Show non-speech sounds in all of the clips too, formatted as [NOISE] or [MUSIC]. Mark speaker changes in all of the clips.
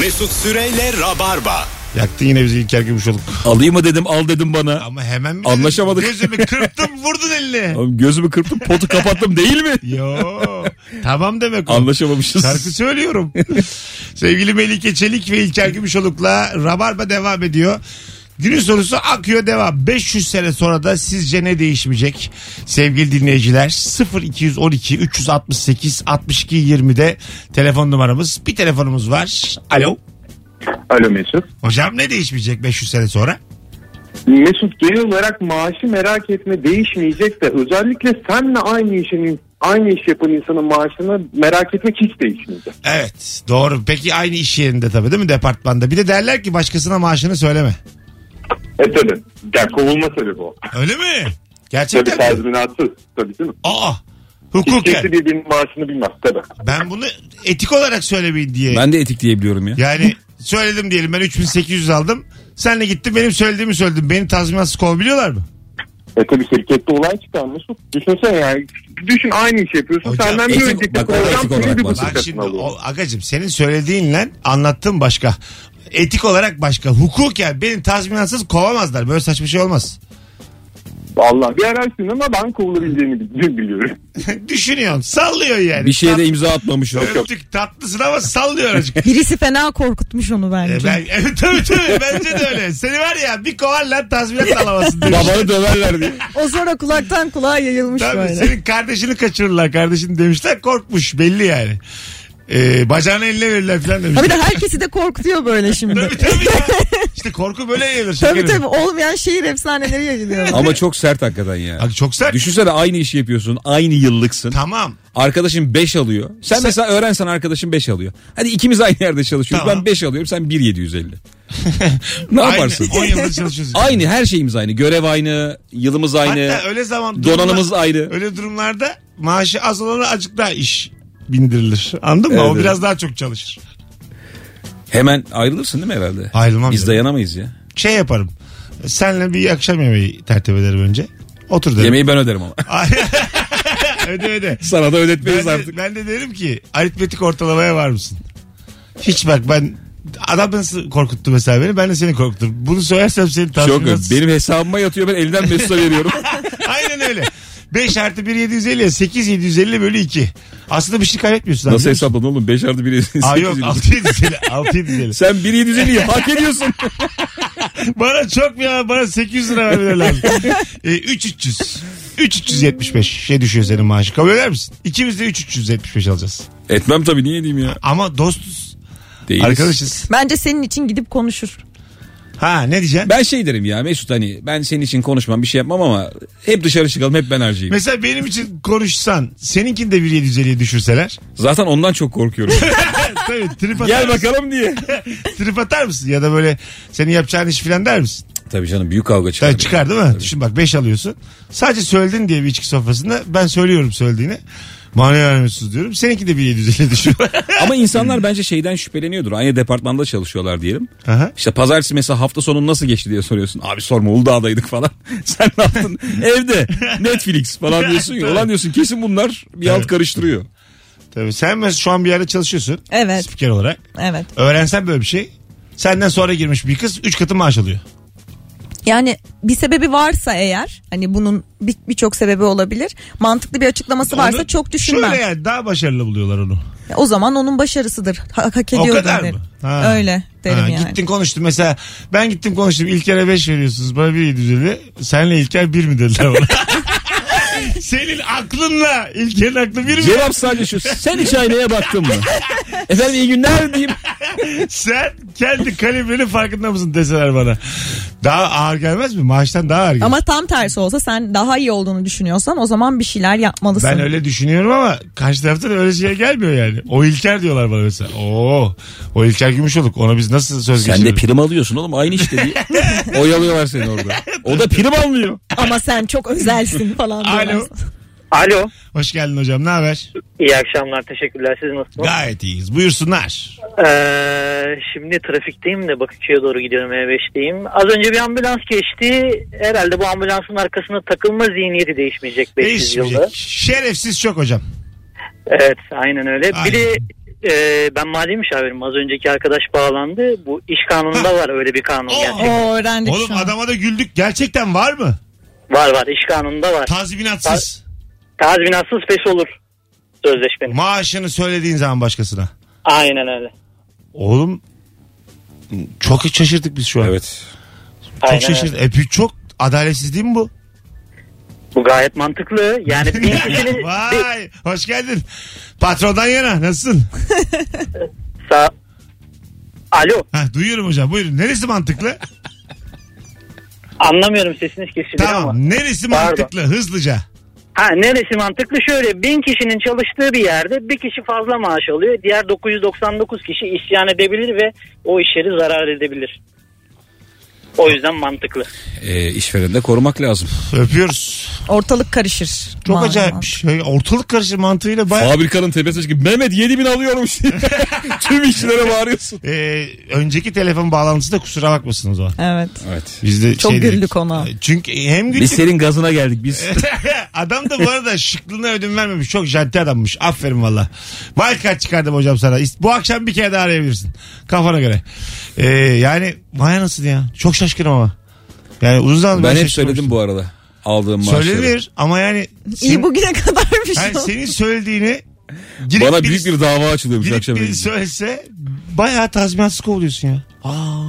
Speaker 1: Mesut Süreyle Rabarba.
Speaker 2: Yaktı yine bizi İlker Gümüşoluk.
Speaker 3: Alayım mı dedim al dedim bana.
Speaker 2: Ama hemen mi?
Speaker 3: Anlaşamadık.
Speaker 2: Gözümü kırptım vurdun
Speaker 3: [LAUGHS]
Speaker 2: eline.
Speaker 3: Oğlum gözümü kırptım potu kapattım
Speaker 2: [LAUGHS]
Speaker 3: değil mi?
Speaker 2: Yo. Tamam demek o.
Speaker 3: Anlaşamamışız.
Speaker 2: Şarkı söylüyorum. Sevgili Melike Çelik ve İlker Gümüşoluk'la Rabarba devam ediyor. Günün sorusu akıyor devam. 500 sene sonra da sizce ne değişmeyecek? Sevgili dinleyiciler 0212 368 62 20'de telefon numaramız. Bir telefonumuz var. Alo.
Speaker 4: Alo Mesut.
Speaker 2: Hocam ne değişmeyecek 500 sene sonra?
Speaker 4: Mesut genel olarak maaşı merak etme değişmeyecek de özellikle senle aynı işin aynı iş yapan insanın maaşını merak etmek hiç değişmeyecek.
Speaker 2: Evet doğru. Peki aynı iş yerinde tabii değil mi departmanda? Bir de derler ki başkasına maaşını söyleme.
Speaker 4: E tabi. Yani kovulma sebebi o.
Speaker 2: Öyle mi?
Speaker 4: Tabi
Speaker 2: Gerçekten mi?
Speaker 4: tazminatsız. Tabi değil mi?
Speaker 2: Aa
Speaker 4: Hiç
Speaker 2: hukuken.
Speaker 4: kimse birbirinin maaşını bilmez tabi.
Speaker 2: Ben bunu etik olarak söylemeyin diye.
Speaker 3: Ben de etik diyebiliyorum ya.
Speaker 2: Yani söyledim diyelim ben 3800 aldım. Senle gittim benim söylediğimi söyledim. Beni tazminatsız kovabiliyorlar mı?
Speaker 4: E tabi şirkette olay çıkar Mesut. Düşünsene yani. Düşün aynı iş yapıyorsun.
Speaker 2: Hocam,
Speaker 4: Senden bir
Speaker 3: etik-
Speaker 4: önceki
Speaker 3: bak, o etik
Speaker 4: program
Speaker 3: olarak
Speaker 4: seni bir
Speaker 3: bahsediyor.
Speaker 2: Bak
Speaker 4: buçuk
Speaker 2: şimdi
Speaker 4: katına alıyor.
Speaker 2: o, agacım senin söylediğinle anlattığın başka. Etik olarak başka. Hukuken beni tazminatsız kovamazlar. Böyle saçma şey olmaz. [LAUGHS]
Speaker 4: Valla bir ararsın ama ben kovulabileceğini bil- biliyorum.
Speaker 2: Düşünüyorsun. Sallıyorsun yani.
Speaker 3: Bir şeye de imza atmamış o.
Speaker 2: Tat- Öptük tatlısın ama sallıyor azıcık.
Speaker 5: Birisi fena korkutmuş onu bence.
Speaker 2: E, ben, [LAUGHS] evet, tabii tabii bence de öyle. Seni var ya bir kovarlar tazminat alamazsın. demiş.
Speaker 3: Babanı
Speaker 2: [LAUGHS]
Speaker 3: döverler diye.
Speaker 5: O sonra kulaktan kulağa yayılmış
Speaker 2: Tabii
Speaker 5: böyle.
Speaker 2: senin kardeşini kaçırırlar kardeşini demişler korkmuş belli yani. Ee, bacağını eline verirler falan
Speaker 5: Ha bir
Speaker 2: demişler.
Speaker 5: de herkesi de korkutuyor böyle şimdi.
Speaker 2: tabii tabii ya. İşte korku böyle yayılır
Speaker 5: tabii
Speaker 2: şekerim.
Speaker 5: tabii olmayan şehir efsaneleri yayılıyor.
Speaker 3: Ama çok sert hakikaten ya.
Speaker 2: Abi çok sert.
Speaker 3: Düşünsene aynı işi yapıyorsun. Aynı yıllıksın.
Speaker 2: Tamam.
Speaker 3: Arkadaşın 5 alıyor. Sen, mesela öğrensen arkadaşın 5 alıyor. Hadi ikimiz aynı yerde çalışıyoruz.
Speaker 2: Tamam.
Speaker 3: Ben 5 alıyorum
Speaker 2: [LAUGHS]
Speaker 3: sen 1.750. ne yaparsın?
Speaker 2: Aynı, 10 yıldır çalışıyoruz.
Speaker 3: Aynı her şeyimiz aynı. Görev aynı, yılımız aynı,
Speaker 2: Hatta öyle zaman
Speaker 3: donanımız
Speaker 2: durumlar-
Speaker 3: ayrı.
Speaker 2: öyle durumlarda maaşı az olana azıcık daha iş bindirilir. Anladın mı? o
Speaker 3: Evet, evet.
Speaker 2: biraz daha çok çalışır.
Speaker 3: Hemen ayrılırsın değil mi herhalde?
Speaker 2: Ayrılmam
Speaker 3: Biz
Speaker 2: canım.
Speaker 3: dayanamayız ya.
Speaker 2: Şey yaparım. Senle bir akşam yemeği tertip ederim önce. Otur derim.
Speaker 3: Yemeği ben
Speaker 2: [LAUGHS]
Speaker 3: öderim ama.
Speaker 2: öde öde.
Speaker 3: Sana da
Speaker 2: Ben
Speaker 3: ödetmeyiz
Speaker 2: de,
Speaker 3: artık.
Speaker 2: ben de derim ki aritmetik ortalamaya var mısın? Hiç bak ben adam nasıl korkuttu mesela beni ben de seni korkuttum. Bunu söylersem seni
Speaker 3: Çok
Speaker 2: tazminat...
Speaker 3: Benim hesabıma yatıyor ben elden
Speaker 2: [LAUGHS]
Speaker 3: Mesut'a veriyorum.
Speaker 2: Aynen öyle. 5 artı 1 750 ya 8 750 bölü 2. Aslında bir şey kaybetmiyorsun. abi,
Speaker 3: Nasıl
Speaker 2: biliyor musun?
Speaker 3: hesapladın oğlum? 5 artı 1
Speaker 2: Aa yok 6 750. 6
Speaker 3: [LAUGHS]
Speaker 2: 750.
Speaker 3: Sen 1 750'yi
Speaker 2: [LAUGHS]
Speaker 3: hak ediyorsun.
Speaker 2: Bana çok ya bana 800 lira verdiler lan.
Speaker 3: [LAUGHS]
Speaker 2: e, 3 300. 3 375 şey düşüyor senin maaşı. Kabul eder misin? İkimiz de 3 375 alacağız.
Speaker 3: Etmem tabii niye edeyim ya.
Speaker 2: Ama dostuz.
Speaker 3: Değiliz.
Speaker 2: Arkadaşız.
Speaker 5: Bence senin için gidip konuşur.
Speaker 2: Ha ne diyeceksin?
Speaker 3: Ben şey derim ya Mesut hani ben senin için konuşmam bir şey yapmam ama hep dışarı çıkalım hep ben harcayayım.
Speaker 2: Mesela benim için konuşsan seninkini de 1750'ye düşürseler.
Speaker 3: Zaten ondan
Speaker 2: [LAUGHS]
Speaker 3: çok korkuyorum.
Speaker 2: Tabii trip atar,
Speaker 3: Gel
Speaker 2: mısın? [LAUGHS]
Speaker 3: bakalım diye.
Speaker 2: trip atar mısın? Ya da böyle senin yapacağın iş falan der misin?
Speaker 3: Tabii canım büyük kavga çıkar.
Speaker 2: Tabii çıkar değil mi? Düşün bak 5 alıyorsun. Sadece söyledin diye bir içki sofrasında ben söylüyorum söylediğini. Bana vermiyorsunuz diyorum. Seninki de 1750'ye
Speaker 3: [LAUGHS]
Speaker 2: düşüyor.
Speaker 3: Ama insanlar bence şeyden şüpheleniyordur. Aynı departmanda çalışıyorlar diyelim.
Speaker 2: Aha.
Speaker 3: İşte pazartesi mesela hafta sonu nasıl geçti diye soruyorsun. Abi sorma Uludağ'daydık falan. [LAUGHS] Sen ne [LAUGHS] yaptın? Evde Netflix falan [LAUGHS] diyorsun ya. Ulan diyorsun kesin bunlar bir alt karıştırıyor.
Speaker 2: Tabii sen mesela şu an bir yerde çalışıyorsun.
Speaker 5: Evet.
Speaker 2: Spiker olarak.
Speaker 5: Evet.
Speaker 2: Öğrensen böyle bir şey. Senden sonra girmiş bir kız 3 katı maaş alıyor.
Speaker 5: Yani bir sebebi varsa eğer hani bunun bir- birçok sebebi olabilir. Mantıklı bir açıklaması varsa
Speaker 2: Onu-
Speaker 5: çok düşünmem.
Speaker 2: Şöyle yani daha başarılı buluyorlar onu.
Speaker 5: O zaman onun başarısıdır. Ha- hak
Speaker 2: O
Speaker 5: ediyor
Speaker 2: kadar
Speaker 5: derim.
Speaker 2: mı? Ha.
Speaker 5: Öyle derim
Speaker 2: Ha,
Speaker 5: yani.
Speaker 2: Gittin konuştun mesela ben gittim konuştum İlker'e 5 veriyorsunuz bana 1 750 senle İlker 1 mi dediler bana. [LAUGHS] Senin aklınla İlker'in aklı
Speaker 5: [LAUGHS]
Speaker 2: 1 mi?
Speaker 3: Cevap sadece şu. Sen hiç aynaya baktın [LAUGHS] mı? Efendim iyi günler diyeyim.
Speaker 2: Sen kendi kalibrenin farkında mısın deseler bana. Daha ağır gelmez mi? Maaştan daha ağır gelir.
Speaker 5: Ama tam tersi olsa sen daha iyi olduğunu düşünüyorsan o zaman bir şeyler yapmalısın.
Speaker 2: Ben öyle düşünüyorum ama karşı taraftan öyle şey gelmiyor yani. O İlker diyorlar bana mesela. Oo, o İlker Gümüşoluk. Ona biz nasıl söz
Speaker 3: Sen de
Speaker 2: geçiririz?
Speaker 3: prim alıyorsun oğlum aynı işte diye. [LAUGHS] Oyalıyorlar seni orada. O da prim almıyor.
Speaker 5: Ama sen çok özelsin falan.
Speaker 2: Alo.
Speaker 5: diyorlar.
Speaker 6: Alo.
Speaker 2: Hoş geldin hocam. Ne haber?
Speaker 6: İyi akşamlar. Teşekkürler. Siz nasılsınız?
Speaker 2: Gayet iyiyiz. Buyursunlar.
Speaker 6: Ee, şimdi trafikteyim de Bakıkçı'ya doğru gidiyorum E5'teyim. Az önce bir ambulans geçti. Herhalde bu ambulansın arkasına takılma zihniyeti değişmeyecek 500
Speaker 2: Değişmeyecek.
Speaker 6: yılda.
Speaker 2: Şerefsiz çok hocam.
Speaker 6: Evet aynen öyle.
Speaker 2: Aynen.
Speaker 6: Bir de e, ben mali müşavirim. Az önceki arkadaş bağlandı. Bu iş kanununda var öyle bir kanun.
Speaker 2: Oo.
Speaker 6: gerçekten.
Speaker 5: Oo öğrendik
Speaker 2: Oğlum
Speaker 5: şu an.
Speaker 2: adama da güldük. Gerçekten var mı?
Speaker 6: Var var iş kanununda var.
Speaker 2: Tazminatsız.
Speaker 6: Tazminatsız peş olur sözleşmenin.
Speaker 2: Maaşını söylediğin zaman başkasına.
Speaker 6: Aynen öyle.
Speaker 2: Oğlum çok şaşırdık biz şu an.
Speaker 3: Evet.
Speaker 2: Çok
Speaker 6: Aynen
Speaker 2: şaşırdık.
Speaker 6: öyle.
Speaker 2: E, bu çok adaletsiz değil mi bu?
Speaker 6: Bu gayet mantıklı.
Speaker 2: [LAUGHS]
Speaker 6: Yani bin kişinin... bir-
Speaker 2: Vay hoş geldin. Patrondan yana nasılsın?
Speaker 6: Sa- Alo
Speaker 2: Heh, duyuyorum hocam buyurun. Neresi
Speaker 6: [LAUGHS]
Speaker 2: mantıklı?
Speaker 6: anlamıyorum sesiniz kesildi ama.
Speaker 2: tamam neresi
Speaker 6: Pardon.
Speaker 2: mantıklı hızlıca.
Speaker 6: Ha, neresi mantıklı? Şöyle bin kişinin çalıştığı bir yerde bir kişi fazla maaş alıyor. Diğer 999 kişi isyan edebilir ve o iş yeri zarar edebilir. O yüzden mantıklı.
Speaker 3: E, işvereni de korumak lazım.
Speaker 2: Öpüyoruz.
Speaker 5: Ortalık karışır.
Speaker 2: Çok
Speaker 5: Maalesef.
Speaker 2: acayip. Şey, ortalık karışır mantığıyla bayağı
Speaker 3: Fabrikanın tepesine çıkıp Mehmet 7000 alıyormuş [LAUGHS] diye tüm işçilere bağırıyorsun.
Speaker 2: Ee, önceki telefon bağlantısı da kusura bakmasınız o an.
Speaker 5: Evet.
Speaker 3: Evet.
Speaker 2: Biz de
Speaker 5: Çok
Speaker 2: şey dedik.
Speaker 5: güldük ona.
Speaker 2: Çünkü hem güldük.
Speaker 3: senin gazına geldik biz.
Speaker 2: [LAUGHS] adam da bu arada şıklığına ödün vermemiş. Çok janti adammış. Aferin valla. Wildcard çıkardım hocam sana. İst- Bu akşam bir kere daha arayabilirsin. Kafana göre. Ee, yani vay nasıl ya. Çok şaşkınım ama. Yani uzun zamandır
Speaker 3: ben hep
Speaker 2: şaşkınmıştım.
Speaker 3: söyledim bu arada. Aldığım maaşları.
Speaker 2: Söylenir ama yani.
Speaker 5: İyi
Speaker 2: Sen,
Speaker 5: bugüne [LAUGHS] kadarmış
Speaker 2: yani
Speaker 5: o.
Speaker 2: senin söylediğini girip
Speaker 3: Bana
Speaker 2: bir-
Speaker 3: büyük bir dava açılıyormuş
Speaker 2: Girip
Speaker 3: akşam.
Speaker 2: biri
Speaker 3: evinde.
Speaker 2: söylese bayağı tazminatsız kovuluyorsun ya. Aa,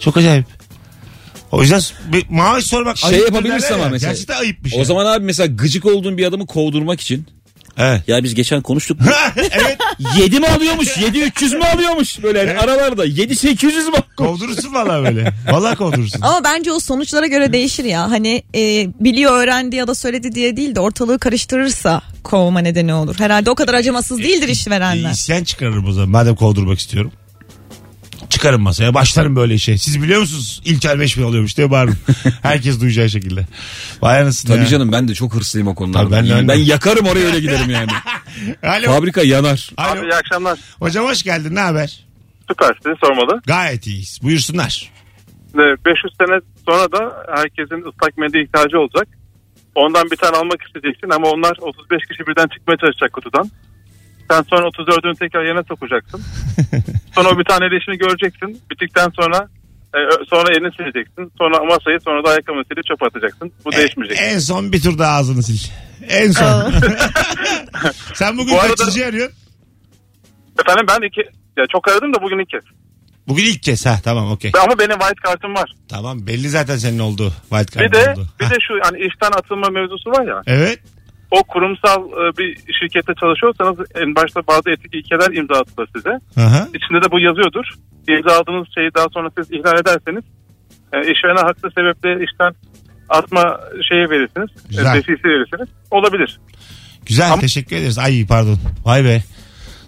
Speaker 2: çok acayip. O yüzden bir maaş sormak
Speaker 3: Şey
Speaker 2: ayıptır
Speaker 3: yapabilirsin
Speaker 2: derler
Speaker 3: ama
Speaker 2: ya.
Speaker 3: mesela.
Speaker 2: Gerçekten ayıpmış.
Speaker 3: O
Speaker 2: ya.
Speaker 3: zaman abi mesela gıcık olduğun bir adamı kovdurmak için. [LAUGHS]
Speaker 2: Evet.
Speaker 3: Ya biz geçen konuştuk.
Speaker 2: [LAUGHS] evet
Speaker 3: 7 mi alıyormuş? 7 300 mü alıyormuş? Böyle yani aralarda 7 800 mü?
Speaker 2: kovdurursun valla böyle. Valla kovdurursun.
Speaker 5: Ama bence o sonuçlara göre değişir ya. Hani e, biliyor öğrendi ya da söyledi diye değil de ortalığı karıştırırsa kovma nedeni olur. Herhalde o kadar acımasız
Speaker 2: E,
Speaker 5: değildir
Speaker 2: Bir
Speaker 5: işverenler.
Speaker 2: İsyan çıkarırım o zaman. Madem kovdurmak istiyorum. Çıkarım masaya başlarım böyle işe. Siz biliyor musunuz İlker 5 bin oluyormuş diye bağırırım.
Speaker 3: [LAUGHS]
Speaker 2: Herkes duyacağı şekilde. Vay anasını
Speaker 3: Tabii
Speaker 2: ya.
Speaker 3: canım ben de çok hırslıyım o konularda.
Speaker 2: Tabii ben de
Speaker 3: ben,
Speaker 2: öyle.
Speaker 3: yakarım oraya öyle
Speaker 2: [LAUGHS]
Speaker 3: giderim yani.
Speaker 2: Alo.
Speaker 3: Fabrika yanar.
Speaker 2: Alo.
Speaker 4: akşamlar.
Speaker 2: Hocam hoş geldin ne haber?
Speaker 4: Süper sizi sormalı.
Speaker 2: Gayet iyiyiz. Buyursunlar.
Speaker 4: Ve 500 sene sonra da herkesin ıslak mendil ihtiyacı olacak. Ondan bir tane almak isteyeceksin ama onlar 35 kişi birden çıkmaya çalışacak kutudan. Sen sonra 34'ünü tekrar yerine sokacaksın. sonra o bir tane de işini göreceksin. Bittikten sonra e, ö- sonra elini sileceksin. Sonra masayı sonra da ayakkabını silip çöpe atacaksın.
Speaker 2: E,
Speaker 4: Bu değişmeyecek.
Speaker 2: En son bir tur daha ağzını sil. En son. [LAUGHS] Sen bugün
Speaker 4: Bu arada-
Speaker 2: kaçıncı arıyorsun?
Speaker 4: Efendim ben iki ya çok aradım da bugün iki.
Speaker 2: Bugün ilk kez. Ha tamam okey.
Speaker 4: Ama benim white kartım var.
Speaker 2: Tamam belli zaten senin olduğu. Wild
Speaker 4: Bir de
Speaker 2: oldu.
Speaker 4: bir de şu hani işten atılma mevzusu var ya.
Speaker 2: Evet.
Speaker 4: O kurumsal e, bir şirkette çalışıyorsanız en başta bazı etik ilkeler imza atılır size.
Speaker 2: Aha.
Speaker 4: İçinde de bu yazıyordur. İmzaladığınız şeyi daha sonra siz ihlal ederseniz e, işverene haklı sebeple işten atma şeyi verirsiniz.
Speaker 2: Güzel.
Speaker 4: E, Besisi verirsiniz. Olabilir.
Speaker 2: Güzel
Speaker 4: Ama-
Speaker 2: teşekkür ederiz. Ay pardon. Vay be.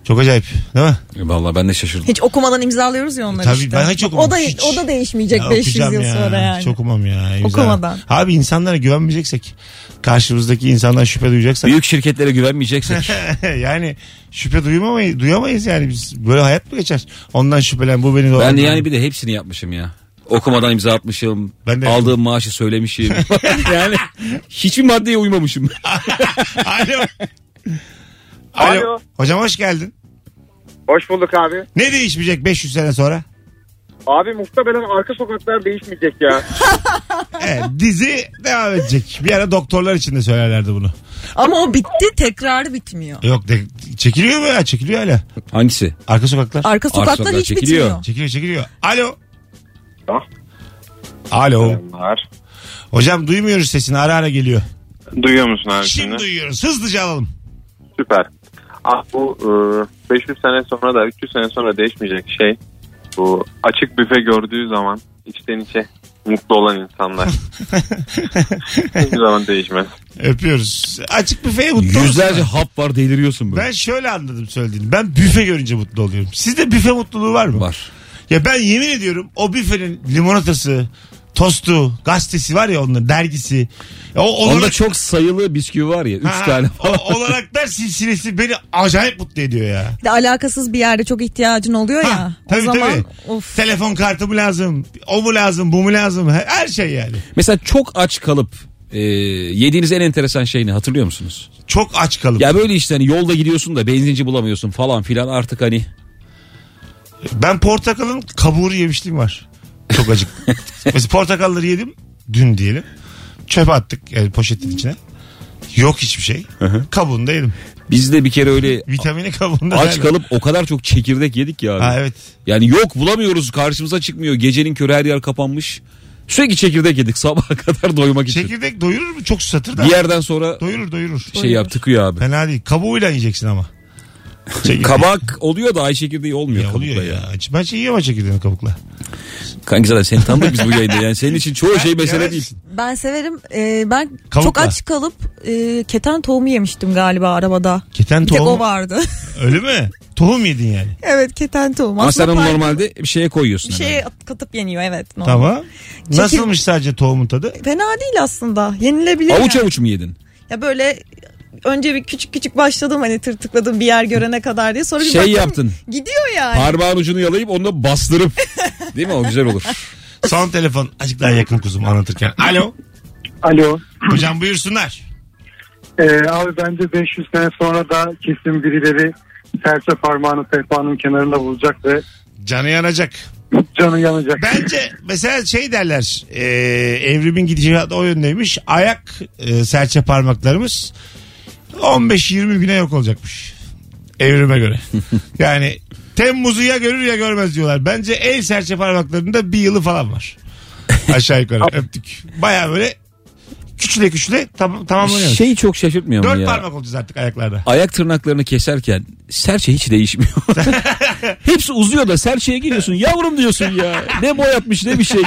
Speaker 2: Çok acayip değil mi?
Speaker 3: E, Vallahi ben
Speaker 2: [LAUGHS]
Speaker 3: de şaşırdım.
Speaker 5: Hiç okumadan imzalıyoruz ya onları
Speaker 2: Tabii,
Speaker 5: işte.
Speaker 2: ben hiç okumam,
Speaker 5: O da,
Speaker 2: hiç.
Speaker 5: o da değişmeyecek
Speaker 2: Ya
Speaker 5: 500
Speaker 2: okuyacağım
Speaker 5: yıl
Speaker 2: ya.
Speaker 5: sonra yani.
Speaker 2: Hiç okumam ya. Güzel.
Speaker 5: Okumadan.
Speaker 2: Abi insanlara güvenmeyeceksek karşımızdaki insandan şüphe duyacaksak
Speaker 3: Büyük
Speaker 2: [LAUGHS]
Speaker 3: şirketlere güvenmeyeceksek.
Speaker 2: yani şüphe duymamayız, duyamayız yani biz böyle hayat mı geçer? Ondan şüphelen bu beni doğru.
Speaker 3: ben
Speaker 2: [LAUGHS]
Speaker 3: de yani bir de hepsini yapmışım ya. Okumadan imza atmışım.
Speaker 2: Ben de
Speaker 3: aldığım maaşı
Speaker 2: [LAUGHS]
Speaker 3: söylemişim. [LAUGHS] yani hiçbir maddeye uymamışım.
Speaker 2: Alo. Alo.
Speaker 7: Alo.
Speaker 2: Hocam hoş geldin.
Speaker 7: Hoş bulduk abi.
Speaker 2: Ne değişmeyecek 500 sene
Speaker 5: [LAUGHS]
Speaker 2: sonra?
Speaker 7: Abi muhtemelen arka sokaklar değişmeyecek ya.
Speaker 2: Evet, dizi devam edecek. Bir ara doktorlar için de söylerlerdi bunu.
Speaker 5: Ama o bitti tekrarı bitmiyor.
Speaker 2: Yok de, çekiliyor mu ya? Çekiliyor hala.
Speaker 3: Hangisi?
Speaker 2: Arka sokaklar.
Speaker 5: Arka sokaklar
Speaker 3: sokak
Speaker 5: hiç
Speaker 3: çekiliyor.
Speaker 5: bitmiyor.
Speaker 2: Çekiliyor çekiliyor. Alo.
Speaker 7: Ah.
Speaker 2: Alo.
Speaker 7: Var.
Speaker 2: Hocam duymuyoruz sesini ara ara geliyor.
Speaker 7: Duyuyor musun abi
Speaker 2: Şimdi duyuyoruz. Hızlıca alalım.
Speaker 7: Süper. Ah bu e, 500 sene sonra da 300 sene sonra değişmeyecek şey. Bu açık büfe gördüğü zaman içten içe mutlu olan
Speaker 2: [LAUGHS]
Speaker 7: insanlar. Hiçbir zaman değişmez.
Speaker 2: Öpüyoruz. Açık büfeye mutlu
Speaker 3: Yüzlerce
Speaker 2: musun?
Speaker 3: hap var deliriyorsun böyle.
Speaker 2: Ben şöyle anladım söylediğini. Ben büfe görünce mutlu oluyorum. Sizde büfe mutluluğu var mı?
Speaker 3: Var.
Speaker 2: Ya ben yemin ediyorum o büfenin limonatası, tostu, gazetesi var ya onun dergisi. Ya O
Speaker 3: Onda
Speaker 2: olarak-
Speaker 3: çok sayılı bisküvi var [LAUGHS] ya. Üç
Speaker 2: Ha,
Speaker 3: tane
Speaker 2: o,
Speaker 3: falan.
Speaker 2: olaraklar silsilesi beni acayip mutlu ediyor ya.
Speaker 5: Bir de alakasız bir yerde çok ihtiyacın oluyor ya.
Speaker 2: Ha, tabii
Speaker 5: o zaman
Speaker 2: tabii.
Speaker 5: of.
Speaker 2: Telefon kartı mı lazım? O mu lazım? Bu mu lazım? Her, her şey yani.
Speaker 3: Mesela çok aç kalıp e, yediğiniz en enteresan şey ne hatırlıyor musunuz?
Speaker 2: Çok aç kalıp.
Speaker 3: Ya böyle işte hani yolda gidiyorsun da benzinci bulamıyorsun falan filan artık hani.
Speaker 2: Ben portakalın kabuğunu yemişliğim var. Çok
Speaker 3: [LAUGHS]
Speaker 2: acık. Mesela portakalları yedim dün diyelim. Çöpe attık yani poşetin içine. Yok hiçbir şey. Kabuğunu da yedim.
Speaker 3: Biz de bir
Speaker 2: [LAUGHS]
Speaker 3: kere öyle
Speaker 2: Vitamini kabuğunda.
Speaker 3: aç
Speaker 2: nerede?
Speaker 3: kalıp o kadar çok çekirdek yedik ya. abi.
Speaker 2: Ha evet.
Speaker 3: Yani yok bulamıyoruz karşımıza çıkmıyor. Gecenin körü her yer kapanmış. Sürekli çekirdek yedik sabaha [LAUGHS] kadar doymak için.
Speaker 2: Çekirdek doyurur mu? Çok susatır da.
Speaker 3: Bir yerden sonra
Speaker 2: Doyurur doyurur.
Speaker 3: şey yap tıkıyor abi.
Speaker 2: Fena değil. Kabuğuyla yiyeceksin
Speaker 3: [LAUGHS]
Speaker 2: ama. Çekirdek.
Speaker 3: Kabak oluyor da ay çekirdeği olmuyor
Speaker 2: Ya
Speaker 3: kabukla
Speaker 2: oluyor
Speaker 3: ya.
Speaker 2: ya. Ben şey yiyemem çekirdeğini kabukla.
Speaker 3: Kanki zaten seni tanıdık biz bu yayında yani. Senin için çoğu şey mesele
Speaker 2: yemezsin.
Speaker 3: değil.
Speaker 5: Ben severim. Ee, ben çok
Speaker 2: Kavukla.
Speaker 5: aç kalıp e, keten tohumu yemiştim galiba arabada.
Speaker 2: Keten
Speaker 5: Bir tek o
Speaker 2: tohumu.
Speaker 5: vardı. [LAUGHS]
Speaker 2: Öyle mi? Tohum yedin yani.
Speaker 5: evet keten tohumu.
Speaker 3: Ama sen
Speaker 5: Aslında
Speaker 3: onu
Speaker 5: pay-
Speaker 3: normalde bir şeye koyuyorsun.
Speaker 5: bir
Speaker 3: hemen.
Speaker 5: şeye at- katıp yeniyor evet. normal.
Speaker 2: Tamam. Nasılmış sadece tohumun tadı?
Speaker 5: Fena değil aslında. Yenilebilir.
Speaker 3: Avuç
Speaker 5: yani.
Speaker 3: avuç mu yedin?
Speaker 5: Ya böyle önce bir küçük küçük başladım hani tırtıkladım bir yer görene kadar diye. Sonra bir
Speaker 3: Şey
Speaker 5: baktım,
Speaker 3: yaptın.
Speaker 5: Gidiyor yani.
Speaker 3: Parmağın ucunu yalayıp onu da
Speaker 5: [LAUGHS]
Speaker 3: bastırıp. Değil mi o güzel olur.
Speaker 2: Son telefon. Azıcık daha yakın kuzum anlatırken. Alo.
Speaker 8: Alo.
Speaker 2: Hocam buyursunlar.
Speaker 8: Ee, abi bence 500 sene sonra da kesin birileri serçe parmağını sehpanın kenarında bulacak ve
Speaker 2: Canı yanacak.
Speaker 8: canı yanacak.
Speaker 2: Bence mesela şey derler e, evrimin gidişatı o yöndeymiş. Ayak e, serçe parmaklarımız 15-20 güne yok olacakmış. Evrime
Speaker 3: [LAUGHS]
Speaker 2: göre. yani Temmuz'u ya görür ya görmez diyorlar. Bence el serçe parmaklarında bir yılı falan
Speaker 3: [LAUGHS]
Speaker 2: var. Aşağı yukarı öptük. Baya böyle küçüle küçüle tam, tamamlanıyor.
Speaker 3: Şeyi çok şaşırtmıyor mu
Speaker 2: Dört
Speaker 3: Şey ya?
Speaker 2: parmak olacağız artık ayaklarda.
Speaker 3: Ayak tırnaklarını keserken serçe
Speaker 2: [LAUGHS]
Speaker 3: hiç değişmiyor. Hepsi uzuyor da serçeye giriyorsun. Yavrum diyorsun ya. Ne boy atmış ne bir şey.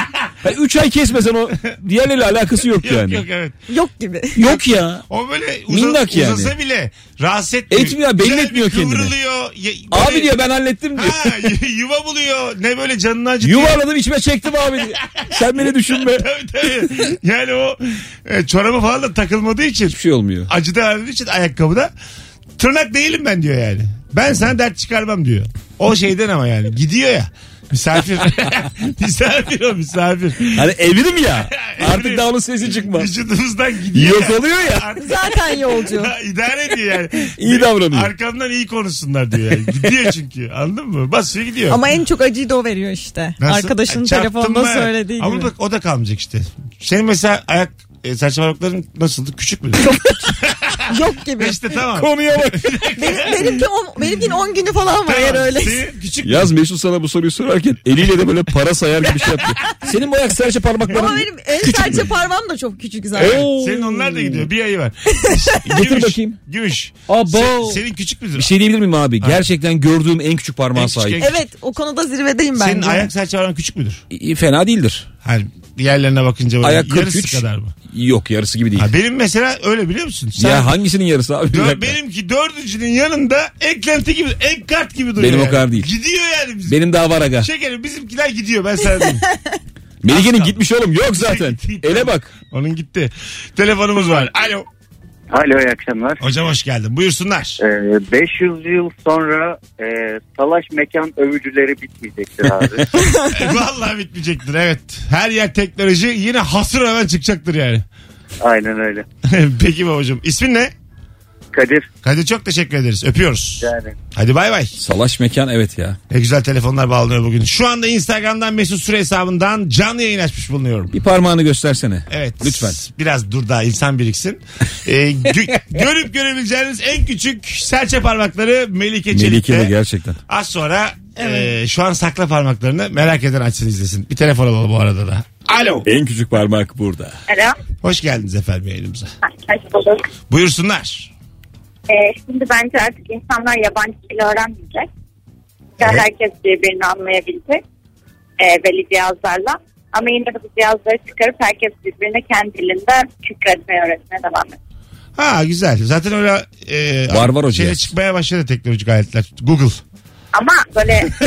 Speaker 3: Yani üç ay kesmesen o diğerleriyle alakası yok,
Speaker 2: Yok
Speaker 3: yani.
Speaker 2: yok
Speaker 3: Yok,
Speaker 2: evet.
Speaker 5: Yok
Speaker 2: [LAUGHS]
Speaker 5: gibi.
Speaker 3: ya.
Speaker 2: böyle uza,
Speaker 3: Minnak yani.
Speaker 2: uzasa bile rahatsız etmiyor.
Speaker 3: Etmiyor, belli
Speaker 2: Güzel bir
Speaker 3: etmiyor kendini.
Speaker 2: Kıvrılıyor. Ye- böyle-
Speaker 3: Abi diyor ben hallettim diyor.
Speaker 2: Ha, y- yuva buluyor. Ne böyle canını acıtıyor.
Speaker 3: Yuvarladım içime çektim abi. diyor. Sen beni
Speaker 2: [LAUGHS]
Speaker 3: düşünme.
Speaker 2: Tabii, tabii. Yani o e, çorabı falan da takılmadığı için
Speaker 3: Hiçbir şey olmuyor.
Speaker 2: acıda verdiği için ayakkabıda tırnak değilim ben diyor yani. Ben sana dert çıkarmam diyor. O şeyden ama yani gidiyor ya. Misafir. [LAUGHS] misafir o misafir.
Speaker 3: Hani
Speaker 2: [LAUGHS]
Speaker 3: evrim ya.
Speaker 2: Evrim.
Speaker 3: Artık daha onun sesi çıkmaz.
Speaker 2: Vücudumuzdan gidiyor.
Speaker 3: Yok oluyor ya.
Speaker 2: [LAUGHS] Artık [LAUGHS]
Speaker 5: Zaten yolcu.
Speaker 2: idare ediyor yani.
Speaker 3: İyi davranıyor.
Speaker 2: Arkamdan iyi konuşsunlar diyor yani. Gidiyor çünkü anladın mı? Basıyor gidiyor.
Speaker 5: Ama en çok acıyı da o veriyor işte.
Speaker 2: Nasıl? E,
Speaker 5: Arkadaşının
Speaker 2: Çarptın mı?
Speaker 5: telefonda söylediği
Speaker 2: Ama
Speaker 5: gibi.
Speaker 2: bak o da kalmayacak işte. Senin mesela ayak e, saç parmakların nasıldı? Küçük müydü? [LAUGHS]
Speaker 5: Yok gibi.
Speaker 2: işte tamam.
Speaker 3: Konuya bak.
Speaker 5: Benim, benimki on, benimkinin 10 günü falan var
Speaker 2: Tamam,
Speaker 5: eğer öyle.
Speaker 2: senin küçük
Speaker 3: Yaz Mesut sana bu soruyu sorarken eliyle de böyle para sayar gibi şey yaptı. Senin bu ayak serçe
Speaker 5: Ama
Speaker 3: parmakların
Speaker 5: benim el serçe parmağım da çok küçük zaten.
Speaker 3: Evet. Oo.
Speaker 2: Senin onlar da gidiyor. Bir
Speaker 3: [LAUGHS]
Speaker 2: ayı var.
Speaker 3: Getir bakayım.
Speaker 2: Gümüş.
Speaker 3: Abo.
Speaker 2: Se- senin küçük müdür?
Speaker 3: Bir şey diyebilir miyim abi? Gerçekten gördüğüm en küçük
Speaker 2: En
Speaker 3: parmağa
Speaker 2: küçük,
Speaker 3: sahip.
Speaker 2: en-
Speaker 5: Evet o konuda zirvedeyim bence.
Speaker 2: Senin ayak saç parmağın küçük müdür?
Speaker 3: İyi, Fena değildir.
Speaker 2: Hani diğerlerine bakınca böyle
Speaker 3: Ayak
Speaker 2: yarısı
Speaker 3: 43.
Speaker 2: kadar mı?
Speaker 3: Yok yarısı gibi değil.
Speaker 2: Ha, benim mesela öyle biliyor musun? Sen
Speaker 3: ya hangisinin yarısı abi? Bir
Speaker 2: Dö-
Speaker 3: dakika. benim,
Speaker 2: benimki dördüncünün yanında eklenti gibi, ek kart gibi duruyor.
Speaker 3: Benim o
Speaker 2: yani.
Speaker 3: kadar değil.
Speaker 2: Gidiyor yani bizim.
Speaker 3: daha var aga.
Speaker 2: Şekerim bizimkiler gidiyor ben
Speaker 3: [LAUGHS]
Speaker 2: sana diyeyim.
Speaker 3: Melike'nin gitmiş oğlum. Yok
Speaker 2: [LAUGHS]
Speaker 3: zaten. Ele bak.
Speaker 2: Onun gitti. Telefonumuz var. Alo.
Speaker 8: Alo iyi akşamlar.
Speaker 2: Hocam hoş geldin.
Speaker 8: [LAUGHS]
Speaker 2: Buyursunlar.
Speaker 8: Ee, 500 yıl sonra e, salaş mekan övücüleri bitmeyecektir abi.
Speaker 2: Vallahi bitmeyecektir evet. Her yer teknoloji yine hasır hemen çıkacaktır yani.
Speaker 8: Aynen öyle.
Speaker 2: [LAUGHS] Peki babacığım. İsmin ne?
Speaker 8: Kadir
Speaker 2: Hadi çok teşekkür ederiz. Öpüyoruz.
Speaker 8: yani.
Speaker 2: Hadi bay bay.
Speaker 3: Salaş mekan evet ya.
Speaker 2: Ne güzel telefonlar bağlanıyor bugün. Şu anda Instagram'dan Mesut Süre hesabından canlı yayın açmış bulunuyorum.
Speaker 3: Bir parmağını göstersene.
Speaker 2: Evet.
Speaker 3: Lütfen.
Speaker 2: Biraz dur daha insan biriksin. Ee, gö- görüp görebileceğiniz en küçük serçe parmakları Melike Çelik'te.
Speaker 3: Melike de gerçekten.
Speaker 2: Az sonra e, şu an sakla parmaklarını merak eden açsın izlesin. Bir telefon alalım bu arada da. Alo.
Speaker 3: En küçük parmak burada.
Speaker 9: Alo.
Speaker 2: Hoş geldiniz efendim yayınımıza.
Speaker 9: Hoş bulduk.
Speaker 2: Buyursunlar.
Speaker 9: Ee, şimdi bence artık insanlar yabancı dil öğrenmeyecek. Ya
Speaker 2: Evet.
Speaker 9: Herkes birbirini anlayabilecek. Ee, belli cihazlarla. Ama yine de bu cihazları çıkarıp herkes birbirine kendi dilinde şükretmeye öğretmeye devam edecek.
Speaker 2: Ha güzel. Zaten öyle e,
Speaker 3: Var, var o
Speaker 2: şeye
Speaker 3: cihaz.
Speaker 2: çıkmaya başladı teknolojik aletler. Google.
Speaker 9: Ama böyle
Speaker 2: [LAUGHS]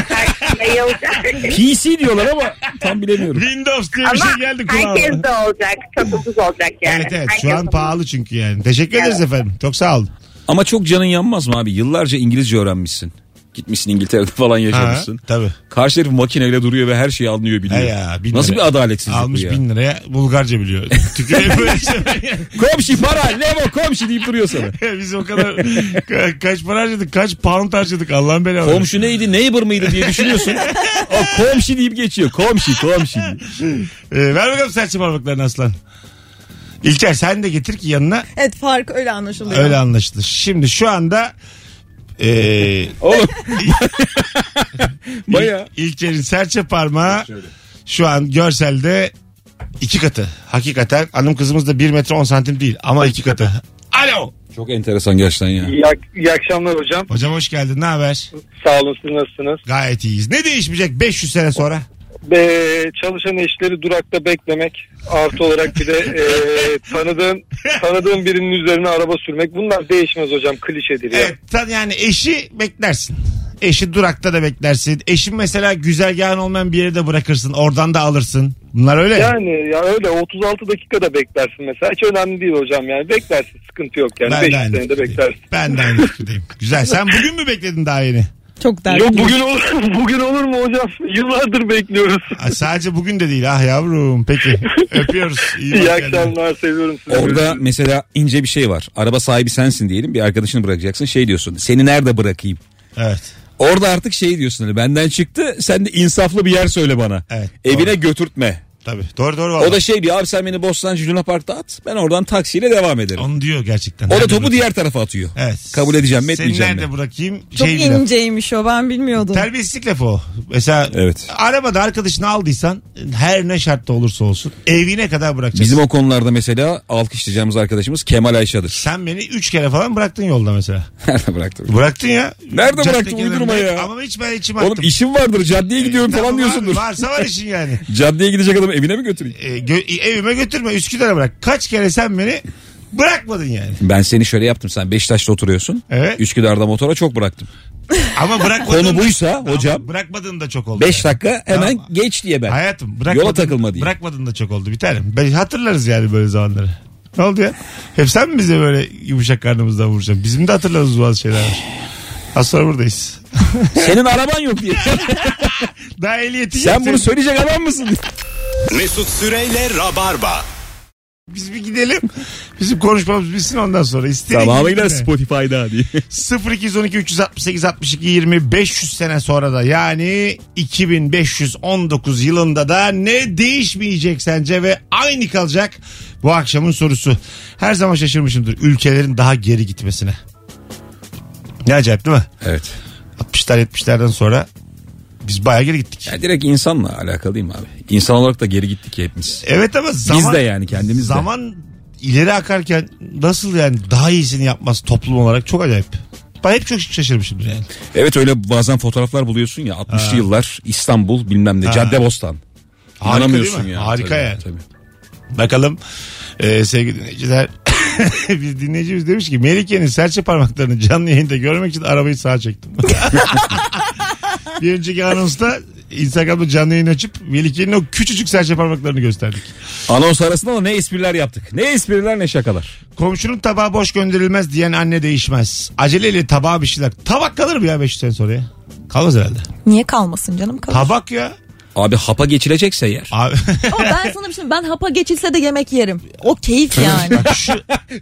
Speaker 9: her şey olacak.
Speaker 3: PC diyorlar ama tam bilemiyorum.
Speaker 2: Windows diye bir
Speaker 9: Ama
Speaker 2: şey geldi
Speaker 9: herkes
Speaker 2: kulağıma.
Speaker 9: de olacak. Çok ucuz olacak yani.
Speaker 2: Evet evet
Speaker 9: Herkes
Speaker 2: şu an
Speaker 9: de-
Speaker 2: pahalı çünkü yani. Teşekkür ederiz efendim. Çok sağ olun.
Speaker 3: Ama çok canın yanmaz mı abi? Yıllarca İngilizce öğrenmişsin. Gitmişsin İngiltere'de [LAUGHS] falan
Speaker 2: Ha,
Speaker 3: yaşamışsın.
Speaker 2: tabii.
Speaker 3: Karşı herif makineyle duruyor ve her şeyi anlıyor biliyor.
Speaker 2: He ya, bin
Speaker 3: Nasıl
Speaker 2: lira.
Speaker 3: bir adaletsizlik
Speaker 2: Almış
Speaker 3: bu ya?
Speaker 2: bin liraya Bulgarca biliyor. Tükürüyor böyle şey.
Speaker 3: Komşi para Levo komşi deyip duruyor
Speaker 2: [LAUGHS]
Speaker 3: sana.
Speaker 2: Biz o kadar ka- kaç para harcadık kaç pound harcadık Allah'ın belanı.
Speaker 3: Komşu neydi neighbor mıydı diye düşünüyorsun. o komşi deyip geçiyor. Komşi komşi diye.
Speaker 2: Ee, ver bakalım serçe parmaklarını aslan. İlker sen de getir ki yanına
Speaker 5: Evet fark öyle anlaşılıyor.
Speaker 2: öyle anlaşılır. Şimdi şu anda e, eee [LAUGHS]
Speaker 3: Oğlum. Baya.
Speaker 2: İl- İlker'in serçe parmağı şu an görselde iki katı. Hakikaten hanım kızımız da 1 metre 10 santim değil ama iki katı. Alo.
Speaker 3: Çok enteresan gerçekten ya.
Speaker 8: İyi, iyi akşamlar hocam.
Speaker 2: Hocam hoş geldin ne haber?
Speaker 8: Sağ olun siz nasılsınız?
Speaker 2: Gayet iyiyiz. Ne değişmeyecek 500 sene sonra?
Speaker 8: Be- çalışan eşleri durakta beklemek artı olarak bir
Speaker 2: [LAUGHS]
Speaker 8: de e, tanıdığım tanıdığım birinin üzerine araba sürmek bunlar değişmez hocam klişedir ya.
Speaker 2: Evet tan- yani eşi beklersin. Eşi durakta da beklersin. Eşin mesela güzergahın olmayan bir yere de bırakırsın. Oradan da alırsın. Bunlar öyle.
Speaker 8: Yani ya öyle 36 dakikada beklersin mesela hiç önemli değil hocam yani beklersin sıkıntı yok yani
Speaker 2: ben de
Speaker 8: 5
Speaker 2: aynı
Speaker 8: senede
Speaker 2: fikirdeyim.
Speaker 8: beklersin.
Speaker 2: Ben de aynı fikirdeyim. Güzel. Sen bugün mü bekledin daha yeni?
Speaker 5: Çok dertli.
Speaker 8: Yok bugün olur, [LAUGHS] bugün olur mu hocam? Yıllardır bekliyoruz.
Speaker 2: Ha, sadece bugün de değil ah yavrum. Peki öpüyoruz. İyi, bak
Speaker 8: İyi
Speaker 2: kendine.
Speaker 8: akşamlar seviyorum sizi.
Speaker 3: Orada mesela ince bir şey var. Araba sahibi sensin diyelim. Bir arkadaşını bırakacaksın. Şey diyorsun. Seni nerede bırakayım?
Speaker 2: Evet.
Speaker 3: Orada artık şey diyorsun. Hani, benden çıktı. Sen de insaflı bir yer söyle bana.
Speaker 2: Evet,
Speaker 3: Evine
Speaker 2: doğru.
Speaker 3: götürtme.
Speaker 2: Tabii. Doğru doğru valla.
Speaker 3: O da şey diyor. Abi sen beni Bostancı Luna Park'ta at. Ben oradan taksiyle devam ederim.
Speaker 2: Onu diyor gerçekten.
Speaker 3: O da
Speaker 2: Nerede
Speaker 3: topu
Speaker 2: bırak-
Speaker 3: diğer tarafa atıyor.
Speaker 2: Evet.
Speaker 3: Kabul edeceğim mi etmeyeceğim
Speaker 2: Seni
Speaker 3: mi?
Speaker 2: nerede bırakayım?
Speaker 5: Çok
Speaker 2: Şey bir laf.
Speaker 5: inceymiş o ben bilmiyordum.
Speaker 2: Terbiyesizlik lafı o. Mesela
Speaker 3: Evet.
Speaker 2: arabada arkadaşını aldıysan her ne şartta olursa olsun evine kadar bırakacaksın.
Speaker 3: Bizim o konularda mesela alkışlayacağımız arkadaşımız
Speaker 2: [LAUGHS]
Speaker 3: Kemal Ayşe'dir.
Speaker 2: Sen beni 3 kere falan bıraktın yolda mesela.
Speaker 3: Nerede bıraktı?
Speaker 2: Bıraktın ya.
Speaker 3: Nerede
Speaker 2: Cadde
Speaker 3: bıraktın?
Speaker 2: kenarında.
Speaker 3: Uydurma ya.
Speaker 2: Ama hiç ben içim
Speaker 3: Oğlum
Speaker 2: attım.
Speaker 3: işim vardır caddeye gidiyorum
Speaker 2: Tamam
Speaker 3: falan
Speaker 2: abi,
Speaker 3: diyorsundur.
Speaker 2: varsa Ee, var işin
Speaker 3: [LAUGHS]
Speaker 2: yani.
Speaker 3: Caddeye gidecek adamı evine mi götüreyim?
Speaker 2: E, gö- evime götürme Üsküdar'a bırak. Kaç kere sen beni bırakmadın yani.
Speaker 3: Ben seni şöyle yaptım sen Beşiktaş'ta oturuyorsun.
Speaker 2: Ee, Evet.
Speaker 3: Üsküdar'da motora çok bıraktım.
Speaker 2: Ama bırakmadın.
Speaker 3: Konu buysa
Speaker 2: Ama
Speaker 3: hocam.
Speaker 2: Bırakmadığın da çok oldu.
Speaker 3: 5 dakika hemen
Speaker 2: Tamam.
Speaker 3: geç diye ben.
Speaker 2: Hayatım bırakmadın,
Speaker 3: Yola takılma diye.
Speaker 2: Bırakmadın da çok oldu bir tanem. Ben, hatırlarız yani böyle zamanları. Ne oldu ya? Hep sen mi bize böyle yumuşak karnımızdan vuracaksın? Bizim de hatırlarız bazı şeyler. var. Az sonra buradayız.
Speaker 3: Senin araban yok
Speaker 2: [LAUGHS]
Speaker 3: diye.
Speaker 2: Daha ehliyetin yok
Speaker 3: sen bunu
Speaker 2: senin.
Speaker 3: söyleyecek adam mısın?
Speaker 1: Mesut Süreyle Rabarba.
Speaker 2: Biz bir gidelim. Bizim konuşmamız bitsin ondan sonra. İstediğin
Speaker 3: Tamamıyla
Speaker 2: gibi gitme.
Speaker 3: Spotify'da diye.
Speaker 2: 0212 368 62 20 500 sene sonra da yani 2519 yılında da ne değişmeyecek sence ve aynı kalacak bu akşamın sorusu. Her zaman şaşırmışımdır ülkelerin daha geri gitmesine. Ne acayip değil mi?
Speaker 3: [LAUGHS] evet.
Speaker 2: 60'lar 70'lerden sonra biz bayağı geri gittik.
Speaker 3: Ya E, direkt insanla alakalıyım abi. İnsan olarak da geri gittik ya hepimiz.
Speaker 2: Evet ama zaman...
Speaker 3: de yani kendimiz de.
Speaker 2: Zaman ileri akarken nasıl yani daha iyisini yapması toplum olarak çok acayip. Ben hep çok şaşırmışımdır yani.
Speaker 3: Evet öyle bazen fotoğraflar buluyorsun ya 60'lı yıllar İstanbul bilmem ne
Speaker 2: Ha.
Speaker 3: Caddebostan.
Speaker 2: Harika
Speaker 3: İnanamıyorsun
Speaker 2: değil mi?
Speaker 3: ya.
Speaker 2: Harika
Speaker 3: Tabii,
Speaker 2: yani.
Speaker 3: tabii.
Speaker 2: Bakalım Ee, sevgili dinleyiciler. [LAUGHS] bir dinleyicimiz demiş ki Melike'nin serçe parmaklarını canlı yayında görmek için arabayı sağa çektim. [LAUGHS] bir önceki anonsta Instagram'da canlı yayın açıp Melike'nin o küçücük serçe parmaklarını gösterdik.
Speaker 3: Anons arasında da ne espriler yaptık. Ne espriler ne şakalar.
Speaker 2: Komşunun tabağı boş gönderilmez diyen anne değişmez. Aceleyle tabağa bir şeyler. Tabak kalır mı ya 500 sene sonra ya? Kalmaz herhalde.
Speaker 5: Niye kalmasın canım kalır.
Speaker 2: Tabak ya.
Speaker 3: Abi hapa geçilecekse
Speaker 2: [LAUGHS]
Speaker 3: yer.
Speaker 2: Abi,
Speaker 5: Ama ben sana bir şey ben hapa geçilse de yemek yerim. O keyif yani.
Speaker 2: [LAUGHS] bak şu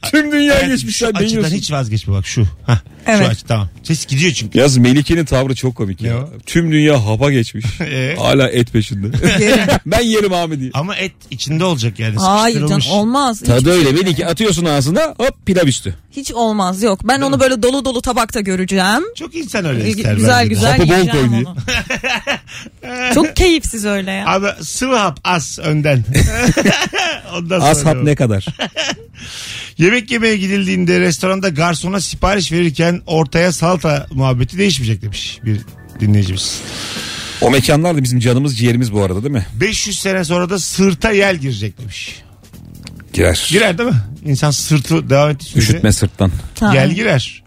Speaker 3: Tüm dünya
Speaker 2: şu açıdan hiç vazgeçme bak şu. Hah,
Speaker 5: Evet.
Speaker 2: Şu açı tamam. Ses gidiyor çünkü.
Speaker 3: Yaz Melike'nin tavrı çok komik
Speaker 2: Ne
Speaker 3: ya.
Speaker 2: o?
Speaker 3: Tüm dünya hapa geçmiş.
Speaker 2: [LAUGHS] Ee?
Speaker 3: Hala
Speaker 2: [LAUGHS]
Speaker 3: et peşinde. ben yerim abi diye.
Speaker 2: Ama et içinde olacak yani.
Speaker 5: Hayır canım
Speaker 2: sıkıştırılmış.
Speaker 5: olmaz. Hiç,
Speaker 3: Tadı öyle Melike atıyorsun ağzına hop pilav üstü.
Speaker 5: hiç olmaz yok. Ben onu böyle dolu dolu tabakta göreceğim.
Speaker 2: Çok insan öyle ister.
Speaker 5: Güzel
Speaker 2: bence de.
Speaker 5: güzel
Speaker 3: Hapı bol
Speaker 5: yiyeceğim
Speaker 3: koy diye.
Speaker 5: onu. Çok keyifsiz öyle ya.
Speaker 2: Abi sıvı hap az
Speaker 5: [LAUGHS]
Speaker 2: önden. Ondan sonra
Speaker 3: Az hap
Speaker 2: devam.
Speaker 3: ne kadar?
Speaker 2: Yemek yemeye gidildiğinde restoranda garsona sipariş verirken ortaya salata muhabbeti değişmeyecek demiş bir dinleyicimiz.
Speaker 3: o mekanlar da bizim canımız ciğerimiz bu arada değil mi?
Speaker 2: 500 sene sonra da sırta yel girecek demiş.
Speaker 3: Girer.
Speaker 2: Girer değil mi? İnsan sırtı devam ettiği sürece
Speaker 3: Üşütme sırttan.
Speaker 5: Tamam.
Speaker 2: Yel girer.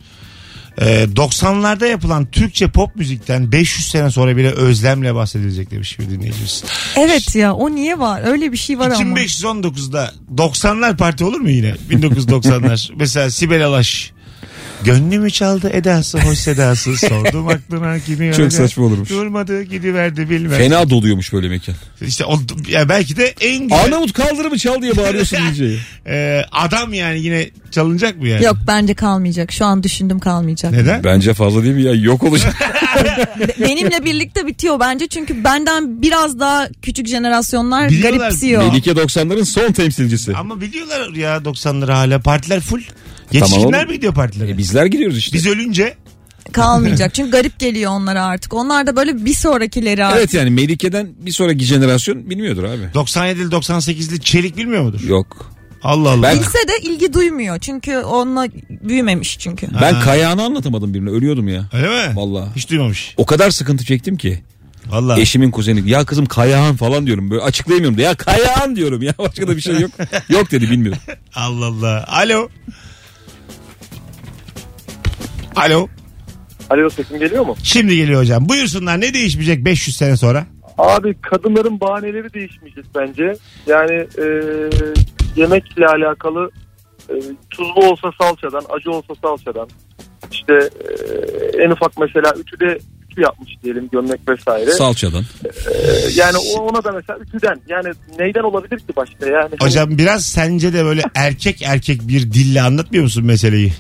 Speaker 2: Ee, 90'larda yapılan Türkçe pop müzikten 500 sene sonra bile özlemle bahsedilecek demiş bir dinleyicimiz.
Speaker 5: Evet ya o niye var? Öyle bir şey var ama. [LAUGHS]
Speaker 2: 2519'da 90'lar parti olur mu yine? 1990'lar. Mesela Sibel Alaş. Gönlümü çaldı edası hoş
Speaker 5: [LAUGHS]
Speaker 2: sedası. Sordum aklına kimi
Speaker 3: Çok saçma olurmuş.
Speaker 2: Durmadı gidiverdi bilmem.
Speaker 3: Fena doluyormuş böyle mekan.
Speaker 2: İşte o, ya belki de en güzel
Speaker 3: Arnavut kaldırımı çal diye bağırıyorsun DJ'ye.
Speaker 2: e, adam yani yine çalınacak mı yani?
Speaker 5: Yok bence kalmayacak. Şu an düşündüm kalmayacak.
Speaker 2: Neden?
Speaker 3: Bence fazla değil mi ya? Yok olacak.
Speaker 5: Be- Benimle birlikte bitiyor bence çünkü benden biraz daha küçük jenerasyonlar
Speaker 2: Biliyorlar.
Speaker 3: [LAUGHS]
Speaker 5: garipsiyor.
Speaker 3: Melike 90'ların son temsilcisi.
Speaker 2: Ama biliyorlar ya 90'ları hala partiler full. Yetişkinler
Speaker 3: E, oğlum.
Speaker 2: mi gidiyor partilere?
Speaker 3: E bizler giriyoruz işte.
Speaker 2: Biz ölünce
Speaker 5: Kalmayacak çünkü garip geliyor onlara artık. Onlar da böyle bir sonrakileri artık.
Speaker 3: Evet yani Melike'den bir sonraki jenerasyon bilmiyordur abi.
Speaker 2: 97'li 98'li çelik bilmiyor mudur?
Speaker 3: Yok.
Speaker 2: Allah Allah.
Speaker 3: Ben-
Speaker 5: Bilse de ilgi duymuyor çünkü onunla büyümemiş çünkü.
Speaker 3: Ben Kayağan'ı anlatamadım birine. Ölüyordum ya.
Speaker 2: Öyle mi?
Speaker 3: Vallahi.
Speaker 2: Hiç duymamış.
Speaker 3: O kadar sıkıntı çektim ki.
Speaker 2: Vallahi.
Speaker 3: Eşimin kuzeni. Ya kızım Kayağan falan diyorum. Böyle açıklayamıyorum. da. Ya Kayağan diyorum ya. [LAUGHS] Başka da bir şey yok. Yok dedi bilmiyorum.
Speaker 2: Allah Allah. Alo. Alo.
Speaker 4: Alo sesim geliyor mu?
Speaker 2: Şimdi geliyor hocam. Buyursunlar ne değişmeyecek 500 sene sonra?
Speaker 4: Abi kadınların bahaneleri değişmeyecek bence. Yani e, yemekle alakalı e, tuzlu olsa salçadan, acı olsa salçadan. İşte e, en ufak mesela ütüde ütü yapmış diyelim gömlek vesaire.
Speaker 3: Salçadan.
Speaker 4: E, yani o- ona da mesela ütüden yani neyden olabilir ki başka yani. Hani
Speaker 2: Hocam biraz sence de böyle erkek erkek bir dille anlatmıyor musun meseleyi?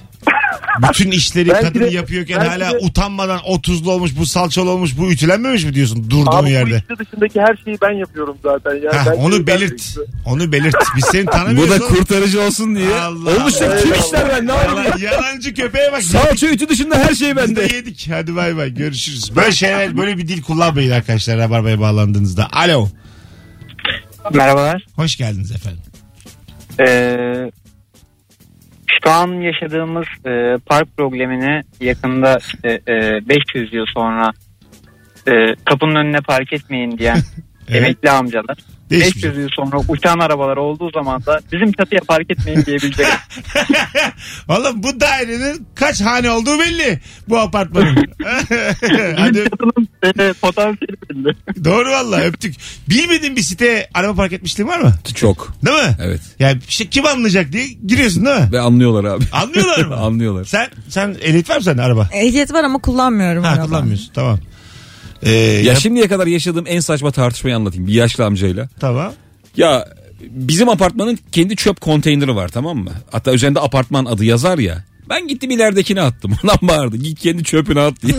Speaker 2: Bütün
Speaker 4: [LAUGHS]
Speaker 2: işleri
Speaker 4: Belki
Speaker 2: kadın
Speaker 4: de-
Speaker 2: yapıyorken
Speaker 4: belki
Speaker 2: hala
Speaker 4: de-
Speaker 2: utanmadan o tuzlu olmuş bu salçalı olmuş bu ütülenmemiş mi diyorsun durduğun
Speaker 4: Abi bu
Speaker 2: yerde?
Speaker 4: işte dışındaki her şeyi ben yapıyorum zaten. Yani
Speaker 2: Heh,
Speaker 4: ben-
Speaker 2: onu belirt.
Speaker 4: şey.
Speaker 2: Onu belirt. Biz seni
Speaker 3: Bu
Speaker 2: tanımıyoruz.
Speaker 3: da
Speaker 2: oğlum.
Speaker 3: kurtarıcı olsun diye.
Speaker 2: Allah
Speaker 3: Olmuş da
Speaker 2: Allah.
Speaker 3: kim işler ben ne yapayım ya?
Speaker 2: Yalan- Yalancı köpeğe bak.
Speaker 3: Salça ütü dışında her şey
Speaker 2: Biz de
Speaker 3: bende.
Speaker 2: yedik. Hadi bay bay. Görüşürüz. Böyle şeyler böyle bir dil kullanmayın arkadaşlar. Rabarba'ya bağlandığınızda. Alo.
Speaker 6: Merhabalar.
Speaker 2: Hoş geldiniz efendim.
Speaker 6: Ee, şu an yaşadığımız e, park problemini yakında işte, e, 500 yıl sonra e, kapının önüne park etmeyin diyen
Speaker 2: [LAUGHS] Evet.
Speaker 6: emekli amcalar.
Speaker 2: Değişmeyecek.
Speaker 6: 500 yıl sonra uçan arabalar olduğu zaman da bizim çatıya park etmeyin diyebilecek.
Speaker 2: [LAUGHS] Oğlum bu dairenin kaç hane olduğu belli. Bu apartmanın. [LAUGHS] [LAUGHS] Hadi
Speaker 6: bizim çatının e, potansiyeli belli.
Speaker 2: doğru valla öptük. Bilmediğin bir siteye araba park etmişliğin var mı?
Speaker 3: Çok.
Speaker 2: Değil mi?
Speaker 3: Evet.
Speaker 2: Yani işte kim anlayacak diye giriyorsun değil mi?
Speaker 3: Ve anlıyorlar abi.
Speaker 2: Anlıyorlar mı?
Speaker 3: [LAUGHS] Anlıyorlar.
Speaker 2: Sen sen ehliyet var mı sende araba?
Speaker 5: Ehliyet var ama kullanmıyorum
Speaker 2: Ha
Speaker 5: araba.
Speaker 2: kullanmıyorsun tamam. Ee,
Speaker 3: Ya
Speaker 2: ya,
Speaker 3: şimdiye kadar yaşadığım en saçma tartışmayı anlatayım. Bir yaşlı amcayla.
Speaker 2: tamam.
Speaker 3: Ya bizim apartmanın kendi çöp konteyneri var tamam mı? Hatta üzerinde apartman adı yazar ya. Ben gittim ileridekine attım. [LAUGHS] Ondan bağırdı. Git kendi çöpüne at diye.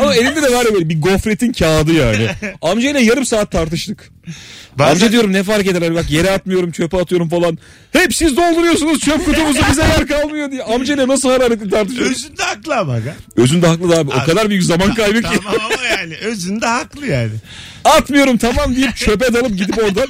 Speaker 3: Ama elinde de var ya böyle bir gofretin kağıdı yani. Amcayla yarım saat tartıştık. Amca
Speaker 2: Bazen-
Speaker 3: diyorum ne fark eder hani bak yere atmıyorum çöpe atıyorum falan. Hep siz dolduruyorsunuz çöp kutumuzu bize yer kalmıyor diye. Amcayla nasıl hararetli tartışıyoruz.
Speaker 2: Özünde haklı ama. aga.
Speaker 3: Özünde haklı abi. O kadar büyük zaman kaybı ki.
Speaker 2: Tamam ama yani özünde haklı yani.
Speaker 3: Atmıyorum tamam deyip çöpe dalıp gidip oradan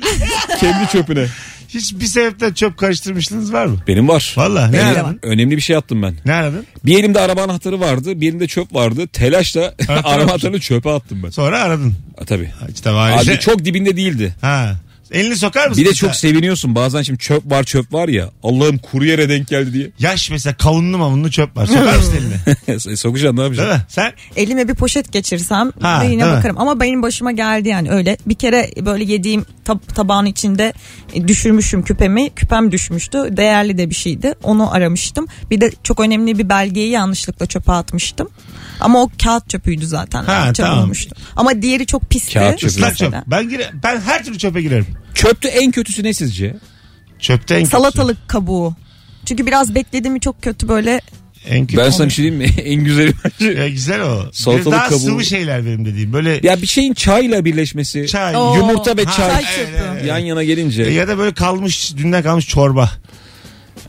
Speaker 3: kendi çöpüne.
Speaker 2: Hiçbir sebepten çöp karıştırmışlığınız var mı?
Speaker 3: Benim var.
Speaker 2: Valla ne
Speaker 3: Önemli-
Speaker 2: aradın?
Speaker 3: Önemli bir şey attım ben.
Speaker 2: Ne aradın?
Speaker 3: Bir elimde araba anahtarı vardı, bir elimde çöp vardı. Telaşla [LAUGHS] araba
Speaker 2: tamam.
Speaker 3: anahtarını çöpe attım ben.
Speaker 2: Sonra aradın.
Speaker 3: Ha, tabii.
Speaker 2: İşte
Speaker 3: Abi
Speaker 2: valize.
Speaker 3: çok dibinde değildi.
Speaker 2: Ha. Elini sokar mısın?
Speaker 3: Bir de
Speaker 2: mesela?
Speaker 3: çok seviniyorsun bazen şimdi çöp var çöp var ya Allah'ım kuru yere denk geldi diye.
Speaker 2: Yaş mesela kavunlu mamunlu çöp var. Sokar mısın elini?
Speaker 3: Sokacaksın ne
Speaker 2: Değil
Speaker 3: yapacaksın?
Speaker 2: mi? Sen
Speaker 5: Elime bir poşet geçirsem
Speaker 2: Ha,
Speaker 5: de yine
Speaker 2: değil mi?
Speaker 5: bakarım. Ama benim başıma geldi yani öyle. Bir kere böyle yediğim tab- tabağın içinde e, düşürmüşüm küpemi. Küpem düşmüştü. Değerli de bir şeydi. Onu aramıştım. Bir de çok önemli bir belgeyi yanlışlıkla çöpe atmıştım. Ama o kağıt çöpüydü zaten.
Speaker 2: Ha,
Speaker 5: Çöp
Speaker 2: tamam.
Speaker 5: olmuştu. Ama diğeri çok pisti.
Speaker 3: Kağıt çöpü.
Speaker 2: ıslak çöp.
Speaker 5: Mesela.
Speaker 2: Ben, gire, ben her türlü çöpe girerim.
Speaker 3: Çöpte en kötüsü ne sizce?
Speaker 2: Çöpte en kötüsü.
Speaker 5: Salatalık kabuğu. Çünkü biraz beklediğimi çok kötü böyle
Speaker 2: En kötü.
Speaker 3: Ben sana bir şey diyeyim mi? [LAUGHS] en güzeli bence.
Speaker 2: Ya güzel o.
Speaker 3: Salatalık
Speaker 2: Salatalık daha
Speaker 3: kabuğu.
Speaker 2: sıvı şeyler benim dediğim. Böyle
Speaker 3: Ya bir şeyin çayla birleşmesi.
Speaker 2: çay.
Speaker 5: Oo.
Speaker 3: Yumurta ve
Speaker 2: Ha,
Speaker 3: çay.
Speaker 5: çay
Speaker 2: evet,
Speaker 5: çöpü.
Speaker 2: evet.
Speaker 3: Yan yana gelince.
Speaker 2: E, Ya da böyle kalmış dünden kalmış çorba.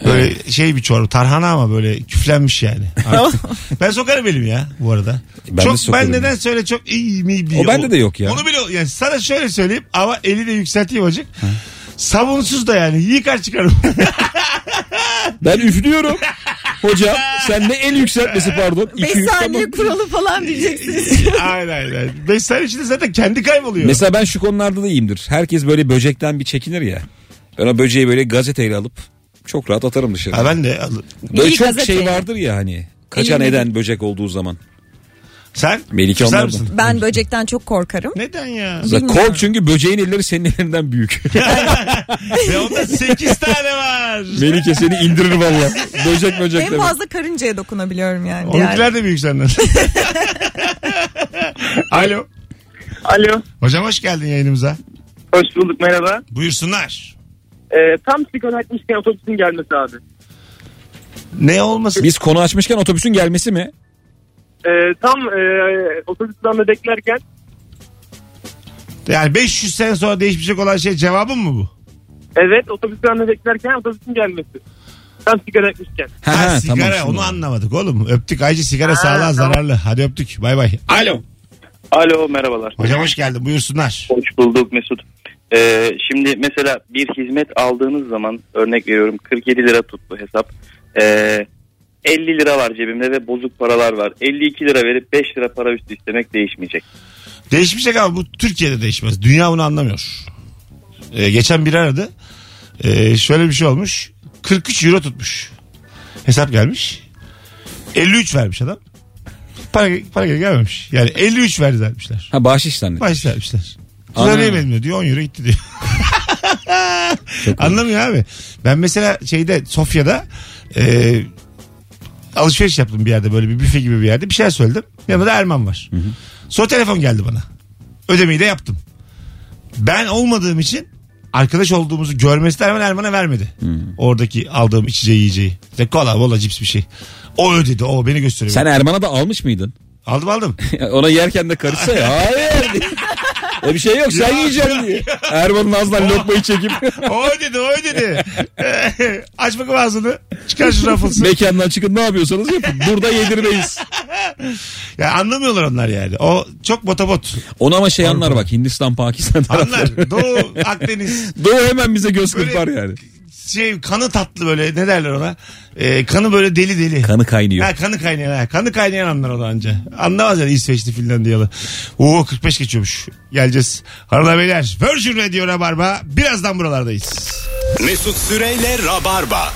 Speaker 2: Böyle şey bir çorba. Tarhana ama böyle küflenmiş
Speaker 3: [LAUGHS]
Speaker 2: yani. Artık. ben sokarım elimi ya bu arada.
Speaker 3: Ben de
Speaker 2: çok,
Speaker 3: sokarım.
Speaker 2: Ben neden söyle çok iyi mi bir.
Speaker 3: O bende de yok ya.
Speaker 2: Onu bile yani sana şöyle söyleyeyim ama eli de yükselteyim azıcık. Sabunsuz da yani yıkar çıkarım. [LAUGHS]
Speaker 3: Ben üflüyorum. Hocam sen ne el yükseltmesi pardon.
Speaker 5: 5
Speaker 3: İki, üç, tamam.
Speaker 5: saniye kuralı
Speaker 3: [LAUGHS]
Speaker 5: falan diyeceksiniz.
Speaker 2: aynen aynen. Beş saniye içinde zaten kendi kayboluyor.
Speaker 3: Mesela ben şu konularda da iyiyimdir. Herkes böyle böcekten bir çekinir ya. Ben o böceği böyle gazeteyle alıp çok rahat atarım dışarı.
Speaker 2: Ha ben de al-
Speaker 3: böyle
Speaker 5: İyi
Speaker 3: çok
Speaker 5: gazete.
Speaker 3: şey vardır ya hani. Kaçan
Speaker 5: Elinde-
Speaker 3: eden böcek olduğu zaman.
Speaker 2: Sen?
Speaker 3: Melike
Speaker 2: Susar
Speaker 3: onlardan.
Speaker 2: mısın?
Speaker 5: Ben böcekten çok korkarım.
Speaker 2: Neden ya?
Speaker 3: Mesela
Speaker 5: Bilmiyorum.
Speaker 3: Kol çünkü böceğin elleri senin ellerinden büyük.
Speaker 2: Ve onda 8 tane var.
Speaker 3: Melike seni indirir valla. Böcek böcek
Speaker 5: En
Speaker 3: demek.
Speaker 5: fazla karıncaya dokunabiliyorum yani. Diğer-
Speaker 2: Onunkiler de büyük senden. [LAUGHS] Alo.
Speaker 10: Alo.
Speaker 2: Hocam hoş geldin yayınımıza.
Speaker 10: Hoş bulduk merhaba.
Speaker 2: Buyursunlar.
Speaker 10: Ee, tam sigara açmışken otobüsün gelmesi abi.
Speaker 2: Ne olmasın?
Speaker 3: Biz konu açmışken otobüsün gelmesi mi?
Speaker 10: Ee, tam e, otobüsten de beklerken
Speaker 2: Yani 500 sene sonra değişmeyecek olan şey cevabın mı bu?
Speaker 10: evet otobüsten de beklerken otobüsün gelmesi. Tam sigara açmışken.
Speaker 2: Ha, sigara
Speaker 3: şimdi.
Speaker 2: onu anlamadık oğlum. Öptük Aycı sigara sağlığa zararlı. Hadi öptük bay bay. Alo.
Speaker 11: Alo merhabalar.
Speaker 2: Hocam hoş geldin buyursunlar.
Speaker 11: Hoş bulduk Mesut. Ee, şimdi mesela bir hizmet aldığınız zaman örnek veriyorum 47 lira tuttu hesap. Ee, 50 lira var cebimde ve bozuk paralar var. 52 lira verip 5 lira para üstü istemek değişmeyecek.
Speaker 2: Değişmeyecek ama bu Türkiye'de değişmez. Dünya bunu anlamıyor. Ee, geçen biri aradı. Ee, şöyle bir şey olmuş. 43 euro tutmuş. Hesap gelmiş. 53 vermiş adam. Para, para geri gelmemiş. Yani 53 verdi dermişler.
Speaker 3: Ha bahşiş zannet.
Speaker 2: Baş vermişler.
Speaker 3: Ana.
Speaker 2: Söyleyemedim diyor. diyor. 10 euro gitti diyor. Anlamıyor abi. Ben mesela şeyde Sofya'da e, alışveriş yaptım bir yerde böyle bir büfe gibi bir yerde bir şeyler söyledim. Yanımda Erman var. Sonra telefon geldi bana. Ödemeyi de yaptım. Ben olmadığım için arkadaş olduğumuzu görmesi de hemen Erman'a vermedi. Oradaki aldığım içeceği yiyeceği. İşte kola bola cips bir şey. O ödedi o beni gösteriyor.
Speaker 3: Sen Erman'a da almış mıydın? [LAUGHS]
Speaker 2: Aldım aldım.
Speaker 3: Ona yerken de karışsa ya.
Speaker 2: [LAUGHS]
Speaker 3: Hayır. diye. E bir şey yok sen yiyeceksin diye. Erman'ın ağzından
Speaker 2: [LAUGHS]
Speaker 3: lokmayı çekip
Speaker 2: o ödedi o ödedi. Aç bakalım ağzını. Çıkar şu raffles'ı.
Speaker 3: mekandan çıkın ne yapıyorsanız yapın. Burada yedirmeyiz.
Speaker 2: Ya anlamıyorlar onlar yani. O çok botobot.
Speaker 3: Onu ama şey anlar bak Hindistan Pakistan tarafları.
Speaker 2: Anlar. Doğu Akdeniz
Speaker 3: [LAUGHS] Doğu hemen bize göz kırpar
Speaker 2: Böyle-
Speaker 3: yani.
Speaker 2: şey kanı tatlı böyle ne derler ona? Ee, kanı böyle deli deli.
Speaker 3: Kanı kaynıyor.
Speaker 2: Ha, kanı kaynayan ha. Kanı kaynayan anlar onu anca. Anlamaz yani İsveçli Finlandiyalı. Oo 45 geçiyormuş. Geleceğiz. Hanımlar beyler Virgin Radio Rabarba. Birazdan buralardayız.
Speaker 1: Mesut Süreyle Rabarba.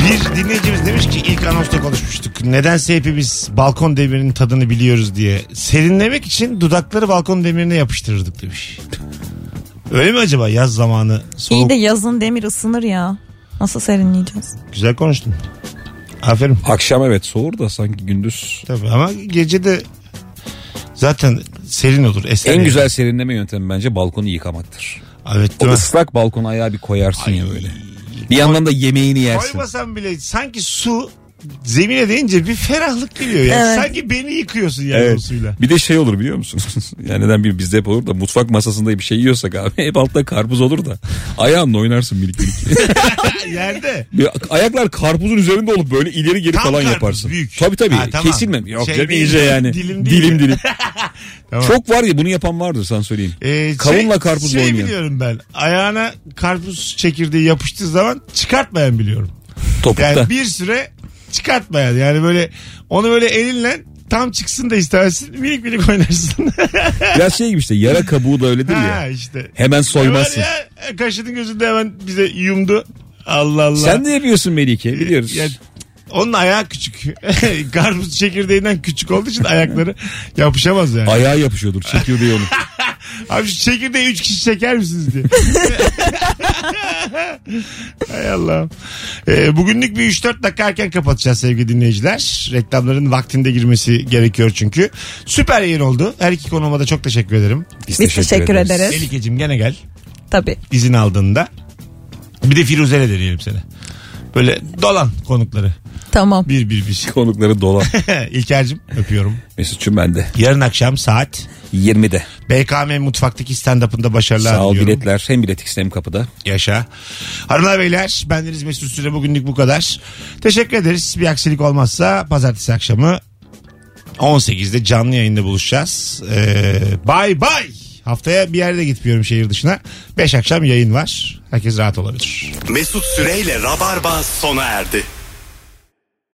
Speaker 2: Bir dinleyicimiz demiş ki ilk anonsta konuşmuştuk. Nedense hepimiz balkon demirinin tadını biliyoruz diye. Serinlemek için dudakları balkon demirine yapıştırırdık demiş. Öyle mi acaba yaz zamanı
Speaker 5: İyi
Speaker 2: soğuk
Speaker 5: de yazın demir ısınır ya. Nasıl serinleyeceğiz?
Speaker 2: güzel konuştun. Aferin.
Speaker 3: Akşam evet soğur da sanki gündüz.
Speaker 2: Tabii ama gece de zaten serin olur. Eser
Speaker 3: En
Speaker 2: yani.
Speaker 3: güzel serinleme yöntemi bence balkonu yıkamaktır.
Speaker 2: Evet
Speaker 3: O
Speaker 2: değil mi?
Speaker 3: ıslak balkona ayağı bir koyarsın ya böyle. Bir yandan da yemeğini yersin.
Speaker 2: Koymasam bile sanki su zemine değince bir ferahlık geliyor. Yani.
Speaker 5: Evet.
Speaker 2: Sanki beni yıkıyorsun yani o suyla.
Speaker 3: Bir de şey olur biliyor musunuz? [LAUGHS] yani neden bir bizde hep olur da mutfak masasında bir şey yiyorsak abi hep altta karpuz olur da ayağınla oynarsın minik minik.
Speaker 2: Yerde.
Speaker 3: Bir Ayaklar karpuzun üzerinde olup böyle ileri geri
Speaker 2: Tam
Speaker 3: falan
Speaker 2: karpuz,
Speaker 3: yaparsın.
Speaker 2: büyük.
Speaker 3: Tabii tabii.
Speaker 2: Ha, tamam.
Speaker 3: Kesilmem. Yok
Speaker 2: Şey
Speaker 3: canım
Speaker 2: değil,
Speaker 3: iyice yani.
Speaker 2: dilim değil.
Speaker 3: Dilim dilim.
Speaker 2: [LAUGHS] Tamam.
Speaker 3: Çok var ya bunu yapan vardır sana söyleyeyim.
Speaker 2: Ee,
Speaker 3: Kavunla karpuz
Speaker 2: şey
Speaker 3: oynayan.
Speaker 2: biliyorum ben. Ayağına karpuz çekirdeği yapıştığı zaman çıkartmayan biliyorum.
Speaker 3: Topukta.
Speaker 2: Yani bir süre çıkartmayan. Yani böyle onu böyle elinle tam çıksın da istersin. Minik minik oynarsın.
Speaker 3: Biraz şey gibi işte yara kabuğu da
Speaker 2: [LAUGHS]
Speaker 3: öyledir
Speaker 2: ha
Speaker 3: ya.
Speaker 2: işte.
Speaker 3: Hemen soymazsın.
Speaker 2: Var ya, kaşının gözünde hemen bize yumdu. Allah Allah.
Speaker 3: Sen de yapıyorsun Melike biliyoruz.
Speaker 2: E, Ya, onun ayağı küçük. [LAUGHS] karpuz çekirdeğinden küçük olduğu için ayakları yapışamaz yani.
Speaker 3: Ayağa yapışıyordur
Speaker 2: [LAUGHS]
Speaker 3: çekirdeği onu.
Speaker 2: Abi şu çekirdeği 3 kişi çeker misiniz diye. [LAUGHS] Hay Allah'ım. Ee, bugünlük bir 3-4 dakika erken kapatacağız sevgili dinleyiciler. Reklamların vaktinde girmesi gerekiyor çünkü. Süper yayın oldu. Her iki konuğuma da çok teşekkür ederim.
Speaker 5: Biz teşekkür, ederiz.
Speaker 2: Melike'cim gene gel
Speaker 5: Tabii.
Speaker 2: izin aldığında. Bir de Firuze'le deneyelim seni. Böyle dolan konukları.
Speaker 5: Tamam.
Speaker 2: Bir bir bir. [LAUGHS]
Speaker 3: Konukları dolan.
Speaker 2: İlker'cim öpüyorum.
Speaker 3: Mesut'cum ben de.
Speaker 2: Yarın akşam saat
Speaker 3: 20'de.
Speaker 2: BKM mutfaktaki stand-up'ında başarılar
Speaker 3: Sağ ol
Speaker 2: diliyorum.
Speaker 3: biletler. Hem bilet X'te hem kapıda.
Speaker 2: Yaşa. Hanımlar beyler bendeniz Mesut Süre bugünlük bu kadar. Teşekkür ederiz. Bir aksilik olmazsa pazartesi akşamı 18'de canlı yayında buluşacağız. Ee, bay bay. Haftaya bir yerde gitmiyorum şehir dışına. 5 akşam yayın var. Herkes rahat olabilir.
Speaker 1: Mesut Süreyle Rabarba sona erdi.